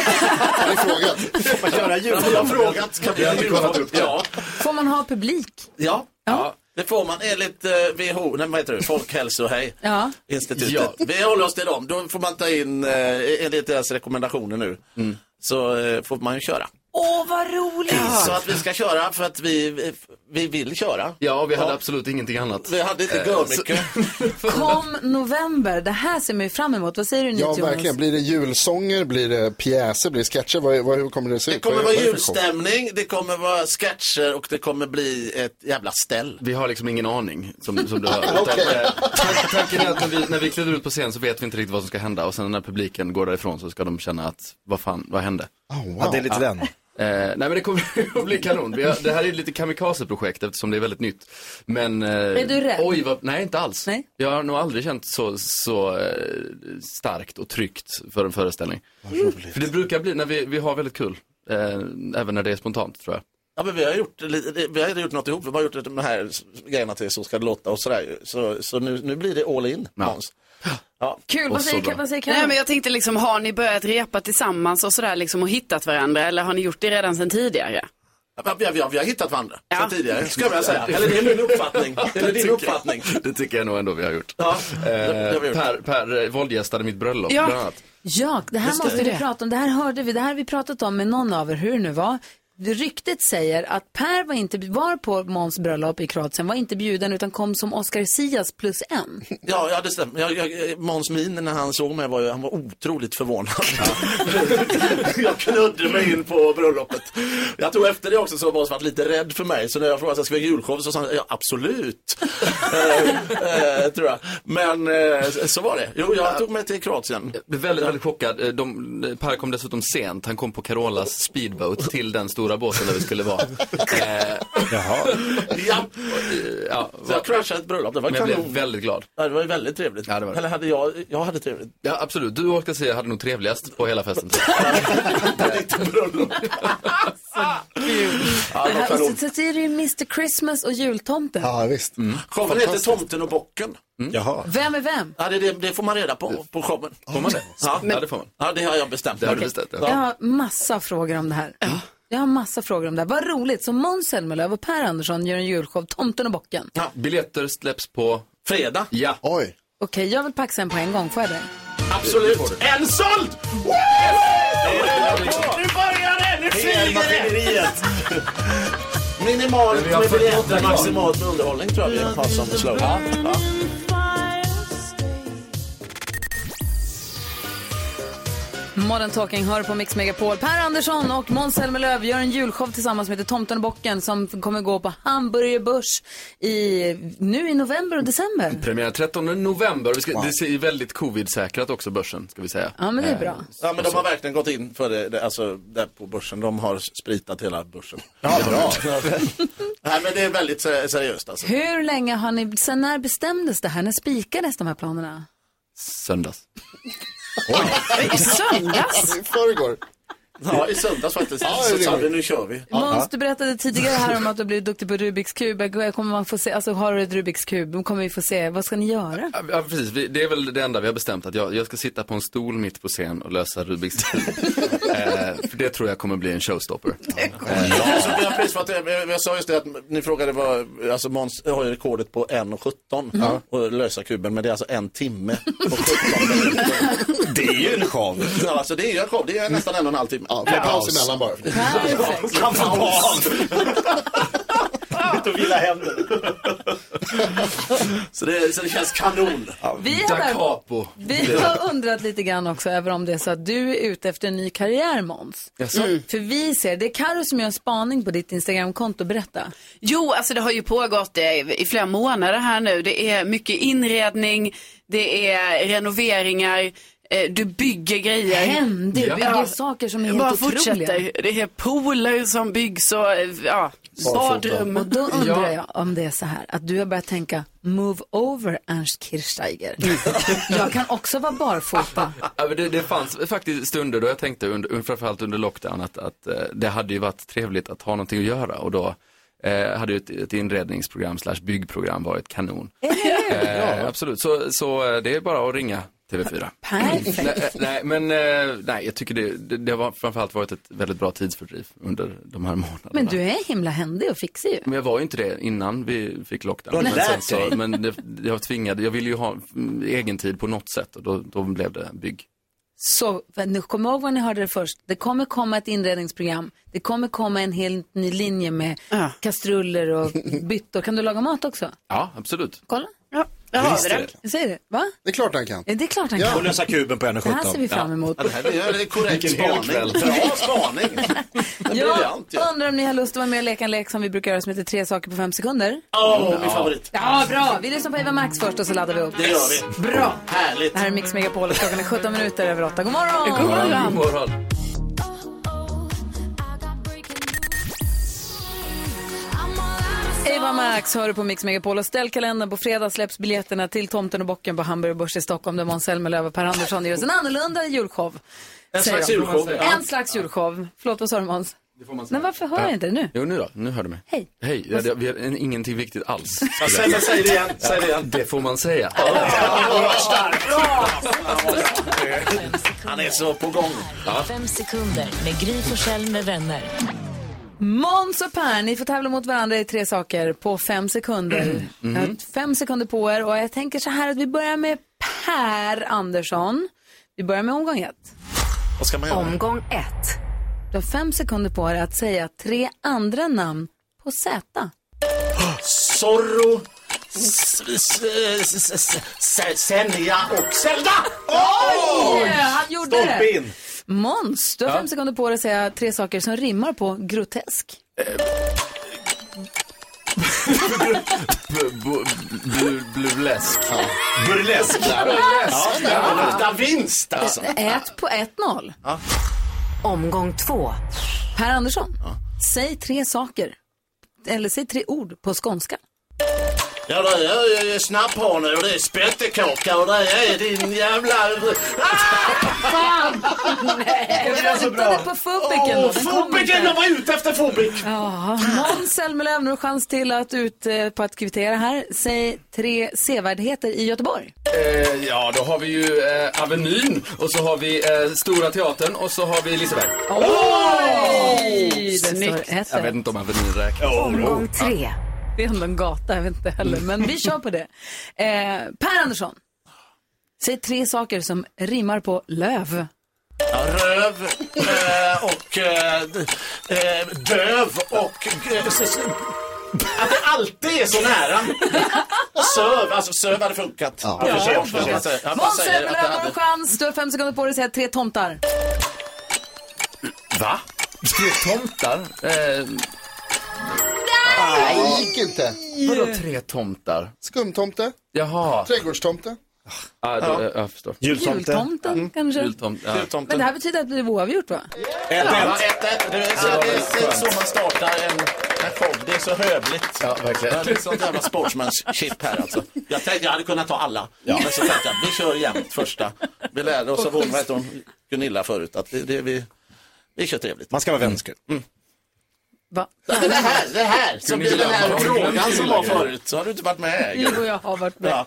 K: Får man göra julshow? Jag har frågat, ska vi göra julshow? Ja.
A: Får man ha publik?
K: Ja. ja. Det får man enligt eh, WHO, nej, vad heter det? Folkhälso, hej.
A: Ja.
K: Institutet.
J: Ja.
K: Vi håller oss till dem. Då får man ta in, eh, enligt deras rekommendationer nu,
J: Mm.
K: så eh, får man ju köra.
A: Åh, vad roligt!
K: Så att vi ska köra för att vi, vi, vi vill köra.
J: Ja, vi hade absolut ingenting annat.
K: Vi hade inte
J: Eh,
K: görmycket.
A: Kom november, det här ser man ju fram emot. Vad säger du nu
B: Ja,
A: Jonas?
B: verkligen. Blir det julsånger, blir det pjäser, blir det sketcher? Vad, vad, hur kommer det se ut?
K: Det kommer
B: Vad-
K: vara
B: vad är det för show?
K: julstämning, det kommer vara sketcher och det kommer bli ett jävla ställ.
J: Vi har liksom ingen aning, som, som du hör. Utan, eh, tan- Tanken är att när vi, när vi kliver ut på scen så vet vi inte riktigt vad som ska hända och sen när publiken går därifrån så ska de känna att, vad fan, vad hände?
B: wow.
D: Ja, det är lite den.
J: Eh, nej men det kommer att bli kanon. Vi har, det här är lite kamikazeprojekt eftersom det är väldigt nytt. Men... eh,
A: Är du rädd?
J: Oj, vad, nej inte alls. Jag har nog aldrig känt så, så eh, starkt och tryggt för en föreställning. För det brukar bli när vi, vi har väldigt kul. Eh, även när det är spontant tror jag.
K: Ja, men vi har gjort, lite- vi har gjort något ihop. Vi har gjort de här grejerna till Så ska det låta och sådär. Så, så nu, nu blir det all in, Måns. Ja.
C: Kul,
K: Och så bra.
C: Nej, men jag tänkte liksom, har ni börjat repa tillsammans och sådär liksom och hittat varandra eller har ni gjort det redan sedan tidigare?
K: Ja, Vi har, vi, har, vi har hittat varandra sedan tidigare, skulle jag vilja säga. Eller det är min uppfattning. Eller din uppfattning.
J: Det tycker jag nog ändå vi har gjort.
K: Ja,
J: eh, per, per eh, våldgästade mitt bröllop
A: Ja.
J: bland annat.
A: Ja, det här
J: Just det.
A: måste vi
J: Det.
A: prata om. Det här hörde vi, det här har vi pratat om med någon av er, hur det nu var. Ryktet säger att Per var, inte, var på Måns bröllop i Kroatien, var inte bjuden utan kom som Oscar Sias plus en.
K: Ja, ja det stämmer. Jag, jag, Måns min när han såg mig var ju, han var otroligt förvånad. jag knudde mig in på bröllopet. Jag tror efter det också så har Måns varit lite rädd för mig. Så när jag frågade om jag ska vi ha julshow så sa han, ja absolut. eh, eh, tror jag. Men eh, så var det. Jo, jag tog mig till Kroatien.
J: Jag blev väldigt, väldigt chockad. Eh, De, per kom dessutom sent. Han kom på Carolas speedboat till den stora båten där vi skulle vara. Eh, Jaha.
K: Ja.
J: ja,
K: Så jag crashade ett bröllop. Det var
J: Men jag blev
K: kanon.
J: väldigt glad.
K: Ja, det var ju väldigt trevligt.
J: Ja, det var det.
K: Eller hade jag, jag hade trevligt.
J: Ja, absolut. Du och Oscar Zia hade nog trevligast på hela festen.
A: det här, och så, så är det ju Mr Christmas och jultomten.
B: Ja, visst.
J: Mm.
K: Showen heter Tomten och bocken.
J: Jaha.
A: Vem är vem?
K: Ja, det, det, det får man reda på på showen.
J: Får man det?
K: Ja,
J: Ja, det får man.
K: Ja, det har jag bestämt.
J: Det har du bestämt, ja.
A: Jag har massa frågor om det här. Jag har massa frågor om det här. Vad roligt, så Måns Zelmerlöw och Per Andersson gör en julshow, Tomten och bocken.
J: Biljetter släpps på...
K: Fredag.
J: Ja.
B: Oj.
A: Okej, jag vill paxa en på en gång, får jag det?
K: Absolut. En såld! Nu börjar det! Nu flyger det! Minimalt
E: Men vi har
K: med biljetter,
E: 48 kvar.
K: maximalt med underhållning tror jag vi har som slogan. Ja.
A: Modern Talking hör på Mix Megapol. Per Andersson och Måns Zelmerlöw gör en julshow tillsammans som heter Tomten och bocken som kommer gå på Hamburger Börs i, nu i november och december.
J: Premiär 13 november. Vi ska, Det ser ju väldigt covid-säkrat också, börsen, ska vi säga.
A: Ja, men det är bra.
K: Ja, men de har verkligen gått in för det, det alltså där på börsen. De har spritat hela börsen.
B: Ja, bra.
K: Nej, men det är väldigt se- seriöst alltså.
A: Hur länge har ni, sen när bestämdes det här? När spikades de här planerna?
J: Söndags.
A: I söndags?
B: I förrgår.
K: Ja, i söndags faktiskt.
B: Ja, det är
K: så sa vi,
B: rimligt.
K: nu kör vi.
A: Måns, du berättade tidigare här om att du har blivit duktig på Rubiks kub. Jag Kommer man få se, alltså har du ett Rubiks kub, kommer vi få se, vad ska ni göra?
J: Ja, Ja, precis. Vi, det är väl det enda vi har bestämt, att jag, jag ska sitta på en stol mitt på scen och lösa Rubiks kub. eh, för det tror jag kommer bli en showstopper.
K: Ja. Så vi har pris för att, jag, jag sa just det att ni frågade vad, alltså Måns har ju rekordet på 1.17
A: Mm.
J: Ja.
K: och lösa kuben, men det är alltså en timme.
D: Det är ju en show.
K: Ja, alltså det är ju en show, det är nästan en och en halv timme. Ja,
B: med paus emellan bara.
K: Han får paus.
D: Ut och vila händerna.
K: Så det, så det känns kanon.
A: Vi är Da där. capo. Vi har undrat lite grann också över om det är så att du är ute efter en ny karriär Måns.
C: Jaså? Mm.
A: För vi ser, det är Karo som gör en spaning på ditt Instagramkonto, berätta.
C: Jo, alltså det har ju pågått eh, i flera månader här nu. Det är mycket inredning, det är renoveringar, eh, du bygger grejer.
A: Hem, du bygger
C: Ja.
A: saker som är helt
C: Bara
A: otroliga.
C: fortsätter. Det är pooler som byggs och eh, ja, badrum.
A: Och då undrar jag om det är så här att du har börjat tänka move over Ernst Kirchsteiger. jag kan också vara barfota.
J: Ja, men det, det fanns faktiskt stunder då jag tänkte, under, framförallt under lockdown, att, att eh, det hade ju varit trevligt att ha någonting att göra och då eh, hade ju ett, ett inredningsprogram slash byggprogram varit kanon. Eh, absolut, så, så eh, det är bara att ringa TV4.
A: Perfekt.
J: Nej, eh, nej, men eh, nej, jag tycker det, det, det har framförallt varit ett väldigt bra tidsfördriv under de här månaderna.
A: Men du är himla händig och fixig ju.
J: Men jag var ju inte det innan vi fick
A: Du
J: lockdown.
A: har
J: Men,
A: lärt
J: så,
A: dig.
J: men det, jag tvingade, jag ville ju ha mm, egen tid på något sätt och då, då blev det bygg.
A: Så nu kom ihåg vad ni hörde det först. Det kommer komma ett inredningsprogram. Det kommer komma en helt ny linje med kastruller och byttor. Kan du laga mat också?
J: Ja, absolut.
A: Kolla.
C: Ja,
B: där har vi det.
A: Jag säger det. Va?
B: Det är klart han kan.
A: Ja, Det är klart han
B: Ja.
A: kan.
D: kuben på 1,17.
A: Det här ser vi fram emot.
K: Ja, det här är det är korrekt
D: Vilken hel
K: spaning.
D: kväll.
K: Bra spaning.
A: Jag undrar om ni har lust att vara med och leka en lek som vi brukar göra som heter tre saker på fem sekunder.
K: Åh, min favorit.
A: Ja, bra. Vi lyssnar på Eva Max först och så laddar vi upp.
K: Det gör vi.
A: Bra.
K: Härligt.
A: Det här är Mix Megapol och klockan är 17 minuter över 8. God morgon!
J: God morgon. God morgon.
A: Eva Max hör du på Mix Megapol och ställ kalendern. På fredag släpps biljetterna till Tomten och bocken på Hamburg Börs i Stockholm där Måns Zelmerlöw och Per Andersson gör oss en annorlunda julshow.
J: En
A: säger
J: slags
A: de.
J: julshow, ja.
A: En slags julshow. Förlåt, vad sa du Måns?
J: Det får man
A: Men varför hör jag inte det nu?
J: Jo, nu då. Nu hör du mig.
A: Hej.
J: Hej. Ja, det, vi har en, ingenting viktigt alls.
D: Ja, säg det, säg det igen, säg det igen.
J: Det får man säga.
D: Han är så på gång.
L: Fem sekunder med Gry Forssell med vänner.
A: Måns och Per, ni får tävla mot varandra i tre saker på fem sekunder. Jag har fem sekunder på er och jag tänker så här att vi börjar med Per Andersson. Vi börjar med omgång ett.
D: Vad ska man göra?
A: Omgång ett. Du har fem sekunder på dig att säga tre andra namn på Z.
E: Zorro, s- s- s- s- s- Senja och Zelda!
A: Oj! Han gjorde det. Måns, du har fem sekunder på dig att säga tre saker som rimmar på grotesk.
K: Burlesk.
D: Burlesk.
E: Burlesk.
K: Ja, Da Vinst alltså.
A: Ett på 1-0.
K: Ja.
A: Omgång två. Per Andersson, säg tre saker. Eller säg tre ord på skånska.
K: Ja, det är ju snapphane och det är spettekaka och det är din jävla...
J: Ah!
A: Fan! Nej,
E: Det var så bra.
A: väntade på fubiken.
E: Åh, fubiken, jag var
A: ute efter fubik. Ja, Måns Zelmerlöw, nu har du chans till att ut eh, på att kvittera här. Säg tre sevärdheter i Göteborg.
M: Eh, ja, då har vi ju eh, Avenyn och så har vi eh, Stora Teatern och så har vi Liseberg.
A: Oj! Det står ett
M: Jag vet inte om Avenyn räknas.
A: Omgång tre. Det är ändå en gata, jag vet inte heller, men vi kör på det. Eh, per Andersson, säg tre saker som rimmar på löv.
K: Röv eh, och eh, d- eh, döv och... eh, s- s- Att det alltid är så nära. Söv, alltså söv hade funkat.
E: Ja, försök, försök.
K: Han bara
A: Måns
K: säger att
A: Zelmerlöw
K: det
A: har en
K: hade...
A: chans, du har fem sekunder på dig att säga tre tomtar.
K: Va?
M: Tre tomtar? Eh,
B: Nej, det gick inte.
M: vadå tre tomtar?
B: Skumtomte,
M: Jaha.
B: trädgårdstomte.
M: Ah, då, jag, jag förstår.
A: Jultomte. Jultomten, kanske?
M: Jultomte, ja.
A: Men det här betyder att det blev oavgjort va?
K: Ja, ett, ett. Det är så-
M: Ja,
K: det är
M: skönt.
K: så man startar en en show. Det är så hövligt. Ja, verkligen. Det är sånt jävla sportsmanship här alltså. Jag tänkte jag hade kunnat ta alla. Men så tänkte jag, vi kör jämnt första. Vi lärde oss av hon, vad heter hon, Gunilla förut, att det, det, vi, vi kör trevligt. Man ska vara vänskrig. Mm.
A: Va?
K: Det här, det här, som blir den här frågan som var förut, så har du inte varit med.
A: Jo, jag har varit med.
K: Ja,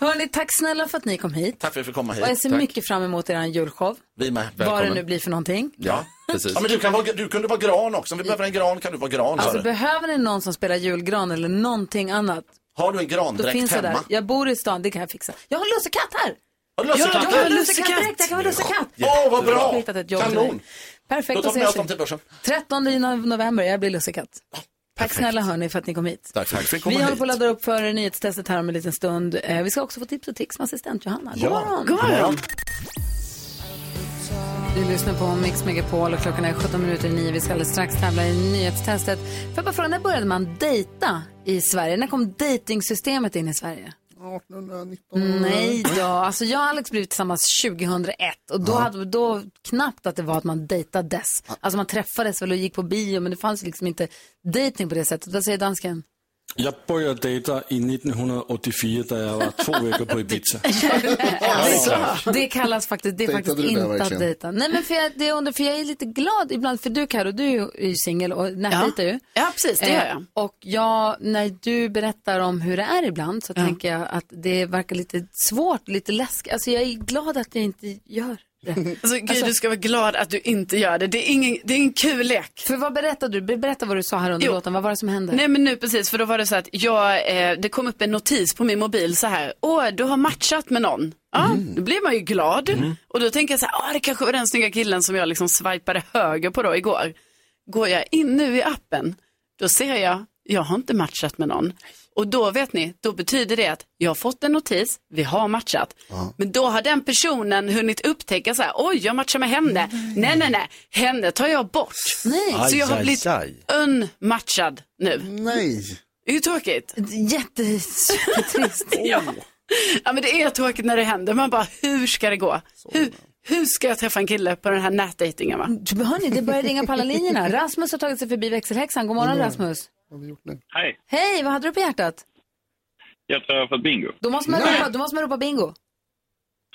A: Hörni, tack snälla för att ni kom hit.
K: tack för att vi fick komma hit.
A: Och jag ser
K: Tack.
A: mycket fram emot er julshow.
K: Vi med.
A: Vad det nu blir för någonting.
K: Ja, precis. Ja, men du, kan vara, du kunde vara gran också. Om vi behöver en gran kan du vara gran. sa
A: Alltså,
K: du.
A: behöver ni någon som spelar julgran eller någonting annat?
K: Har du en
A: Då
K: grandräkt
A: finns jag där.
K: hemma?
A: Jag bor i stan, det kan jag fixa. Jag har en lussekatt här!
K: Har du lussekatt?
A: Ja, jag har en lussekatt. Jag kan vara lussekatt.
K: Åh, vad
A: Jag
K: bra!
A: har hittat ett jobb till
K: Kanon.
A: dig. Perfekt,
K: Då tar
A: då
K: vi med oss
A: ses
K: dem till
A: vi.
K: börsen.
A: 13 i no- november, jag blir lussekatt. Tack snälla hörni för att ni kom hit.
K: Tack för att vi
A: Vi håller på att ladda upp för nyhetstestet här om en liten stund. Eh, Vi ska också få tips och tricks med assistent Johanna. God morgon! Du lyssnar på Mix Megapol och klockan är 17 minuter i 9. Vi ska alldeles strax tävla i nyhetstestet. Får jag bara fråga, när började man dejta i Sverige? När kom dejtingsystemet in i Sverige?
B: 1819.
A: Nej då, alltså jag och Alex blev tillsammans 2001 och då hade då knappt att det var att man dejtades. Alltså man träffades väl och gick på bio men det fanns ju liksom inte dejting på det sättet. Vad säger dansken?
N: Jag började dejta i 1984 da jag var två veckor på Ibiza.
A: Det- Det kallas faktiskt, det är
N: Dejtade
A: faktiskt
N: du där
A: inte att
N: verkligen?
A: dejta. Nej men för jag, det är under, för jag är lite glad ibland, för du Karo, du är ju- är ju singel och nätdejtar ju.
C: Ja, precis, det gör jag.
A: Eh, och jag, när du berättar om hur det är ibland så tänker jag att det verkar lite svårt, lite läskigt. Alltså jag är glad att jag inte gör det.
C: Alltså, Gry, du ska vara glad att du inte gör det. Det är ingen, det är ingen kul lek.
A: För vad berättade du? Berätta vad du sa här under
C: Jo.
A: låten. Vad var det som hände?
C: Nej men nu precis, för då var det så att jag, eh, det kom upp en notis på min mobil så här, åh du har matchat med någon. Ja, då blir man ju glad. Och då tänker jag så här, ah, det kanske var den snygga killen som jag liksom swipade höger på då igår. Går jag in nu i appen, då ser jag, jag har inte matchat med någon. Och då vet ni, då betyder det att jag har fått en notis, vi har matchat. Men då har den personen hunnit upptäcka så här, oj jag matchar med henne. Nej, nej, nej, henne tar jag bort.
A: Nej.
C: Så jag har
A: Aj,
C: blivit
A: aj, aj.
C: unmatchad nu.
B: Nej.
C: Det är ju tråkigt.
A: Jättetrist.
C: ja. ja, men det är tråkigt när det händer. Man bara, hur ska det gå? Hur, Hur ska jag träffa en kille på den här nätdejtingen va?
A: Hörni, det börjar ringa på alla linjerna. Rasmus har tagit sig förbi växelhäxan. God morgon
O: God morgon.
A: Rasmus.
O: Hej,
A: Hej, vad hade du på hjärtat?
O: jag tror jag har fått bingo.
A: Då måste man ropa, då måste man ropa bingo.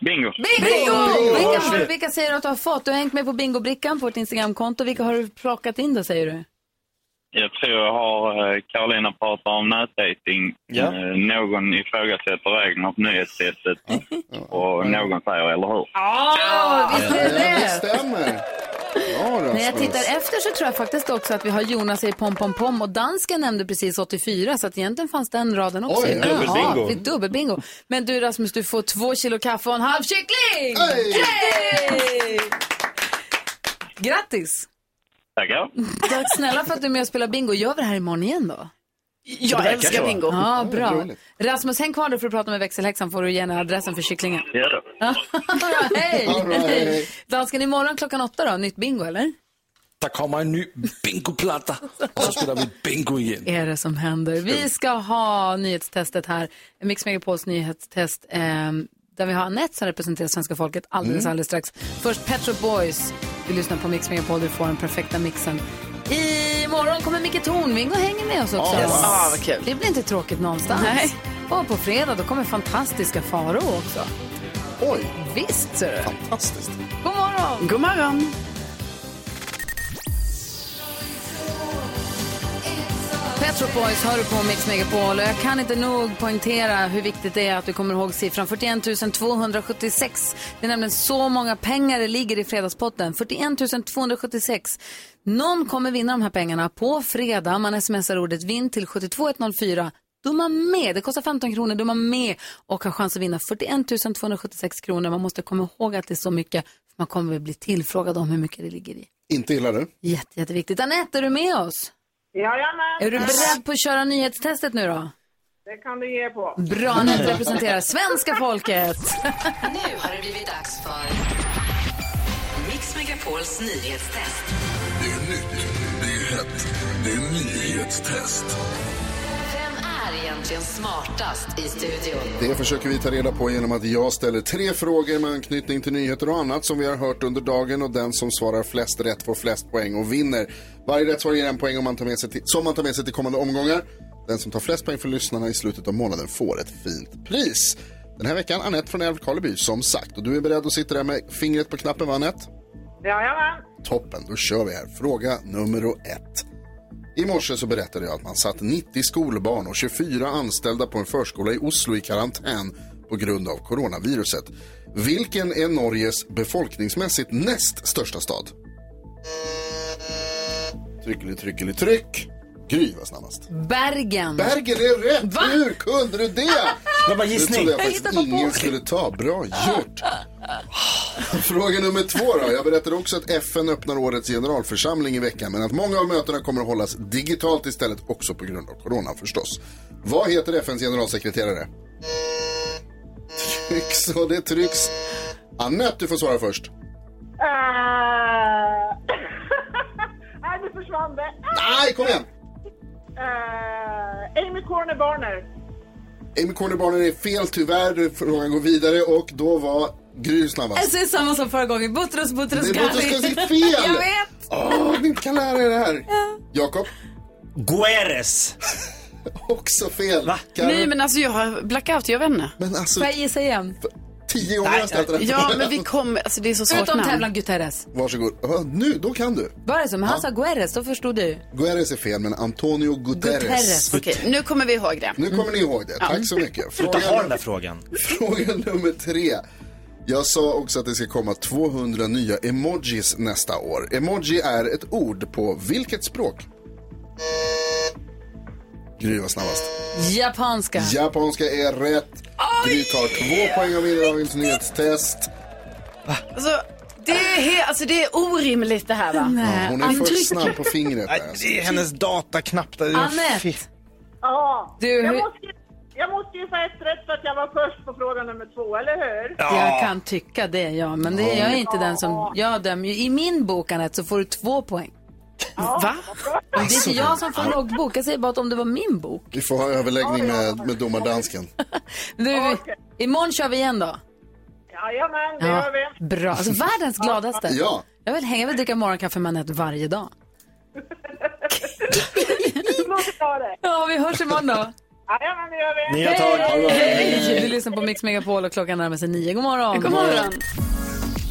O: Bingo!
A: Bingo! Vilka, har, vilka säger du att du har fått? Du har hängt med på bingobrickan på vårt Instagramkonto. Vilka har du plockat in då säger du?
O: Jag tror jag har, eh, Carolina pratar om nätdejting.
A: Ja.
O: Eh, Någon ifrågasätter reglerna på nyhetstestet. Och någon säger, eller hur?
A: Ja, visst är det det.
B: stämmer.
A: När jag tittar efter så tror jag faktiskt också att vi har Jonas i pom pom pom och dansken nämnde precis 84 så att egentligen fanns den raden också.
E: Oj, dubbelbingo.
A: Ja, det är dubbelbingo. Men du Rasmus, du får två kilo kaffe och en halv kyckling! Yay! Grattis!
O: Tackar.
A: Tack snälla för att du är med och spelar bingo. Gör vi det här imorgon igen då?
C: Jag Det verkar älskar så. bingo.
A: Ja,
C: Ja,
A: bra.
C: roligt.
A: Rasmus, häng kvar då för att prata med växelhäxan får du ge henne adressen för kycklingen.
O: Ja då.
A: Hej!
N: All right.
A: Dansken, imorgon klockan åtta då, nytt bingo eller?
N: Der kommer en ny bingoplatta, og så spiller vi bingo igen.
A: är det som händer? Vi ska ha nyhetstestet här, Mix Megapols nyhetstest, eh, där vi har Anette som representerar svenska folket alldeles,
E: Mm.
A: alldeles strax. Först Pet Shop Boys, vi lyssnar på Mix Megapol, du får den perfekta mixen. Imorgon kommer Micke Tornving och hänger med oss också.
E: Ja, Yes.
C: ja, vad kul.
A: Det blir inte tråkigt någonstans.
C: Nej.
A: Och på fredag då kommer fantastiska Faro också.
B: Oj!
A: Visst ser du.
B: Fantastiskt.
A: God morgon!
C: God morgon!
A: Pet Shop Boys hör du på Mix Megapol och jag kan inte nog poängtera hur viktigt det är att du kommer ihåg siffran 41 276. Det är nämligen så många pengar det ligger i fredagspotten. 41 276. Någon kommer vinna de här pengarna på fredag. Man smsar ordet vinn till 72104. Då är man med. Det kostar 15 kronor. Då är man med och har chans att vinna 41 276 kronor. Man måste komma ihåg att det är så mycket. För man kommer bli tillfrågad om hur mycket det ligger i.
B: Inte illa du.
A: Jätte, jätteviktigt. Anette, är du med oss?
P: Jajamän.
A: Är du beredd på att köra nyhetstestet nu då?
P: Det kan du ge på.
A: Bra, Anette representerar svenska folket.
L: Nu har det blivit dags för Mix Megapols nyhetstest.
Q: Det är nytt, det är hett, det är nyhetstest.
L: Vem är egentligen smartast i studion?
B: Det försöker vi ta reda på genom att jag ställer tre frågor med anknytning till nyheter och annat som vi har hört under dagen och den som svarar flest rätt får flest poäng och vinner. Varje rätt svar ger en poäng om man tar med sig till, som man tar med sig till kommande omgångar. Den som tar flest poäng för lyssnarna i slutet av månaden får ett fint pris. Den här veckan Anette från Älvkarleby som sagt och du är beredd att sitta där med fingret på knappen va Anette?
P: Jajamän.
B: Toppen, då kör vi här. Fråga nummer ett. I morse så berättade jag att man satt 90 skolbarn och 24 anställda på en förskola i Oslo i karantän på grund av coronaviruset. Vilken är Norges befolkningsmässigt näst största stad? Tryckeli, tryckeli, tryck. Gry var snabbast.
A: Bergen.
B: Bergen är rätt! Hur kunde du det?
D: Det var
B: Det trodde jag faktiskt ingen skulle ta. Bra gjort! Fråga nummer två då. Jag berättade också att FN öppnar årets generalförsamling i veckan men att många av mötena kommer att hållas digitalt istället också på grund av corona förstås. Vad heter FNs generalsekreterare? Trycks och det trycks. Annette, du får svara först.
A: Ah.
P: Eh, Nej, nu försvann det.
B: Nej, kom igen!
P: Eh, Amy Corner Barner.
B: Amy Corner Barner är fel tyvärr. Frågan går vidare och då var Gry snabbast.
A: Jag säger samma som förra gången. Butros, Butros,
B: Det är Butros
A: Ghali.
B: Ghali, fel!
A: Jag vet.
B: Åh, ni kan lära er det här. Jakob?
D: Gueres.
B: Också fel. Va?
C: Nej men alltså jag har blackout, jag vet inte.
B: Men alltså,
A: Får jag gissa igen?
B: Tio gånger har jag ställt den här
C: Ja
B: frågan.
C: men vi kommer, alltså det är så svårt
A: Förutom
C: namn.
A: tävlan Guterres.
B: Varsågod. Ja, nu, då kan du.
A: Var det så? Men han sa Guerres, då förstod du.
B: Guterres är fel, men Antonio Guterres.
A: Guterres.
C: Okej, nu kommer vi ihåg det.
B: Nu kommer ni ihåg det. Tack så mycket.
D: Sluta ha den där frågan.
B: Fråga nummer tre. Jag sa också att det ska komma 200 nya emojis nästa år. Emoji är ett ord på vilket språk? Gry var snabbast.
A: Japanska.
B: Japanska är rätt. Gry tar två poäng av vinner dagens nyhetstest.
C: Alltså, det är, he- alltså det är orimligt det här va?
B: Ja, Hon är
C: Att
B: för
C: trycka-
B: snabb på fingret. där, alltså.
D: Det är hennes dataknapp. Där.
A: Annette.
P: Ja.
A: Du,
P: jag,
A: hur-
P: måste, jag måste ju säga ett rätt för att jag var först på fråga nummer två, eller hur?
A: Jag kan tycka det, ja. Men det är jag är inte den som... Jag dömer ju. I min bok, Anette, så får du två poäng.
C: Va?
A: Det är inte jag som får loggbok. Jag säger bara att om det var min bok.
B: Vi får ha överläggning med, med domardansken.
A: Du, Imorgon kör vi igen då.
P: Jajamän, det
A: Ja,
P: gör vi.
A: bra. Alltså, världens gladaste.
P: Ja.
A: Jag vill hänga och dricka morgonkaffe med Anette varje dag.
P: Så måste vi ta det.
A: Ja, vi hörs imorgon då.
P: Jajamän, det gör vi.
A: Hej! Hej! Du lyssnar på Mix Megapol och klockan närmar sig nio. God morgon!
P: God morgon.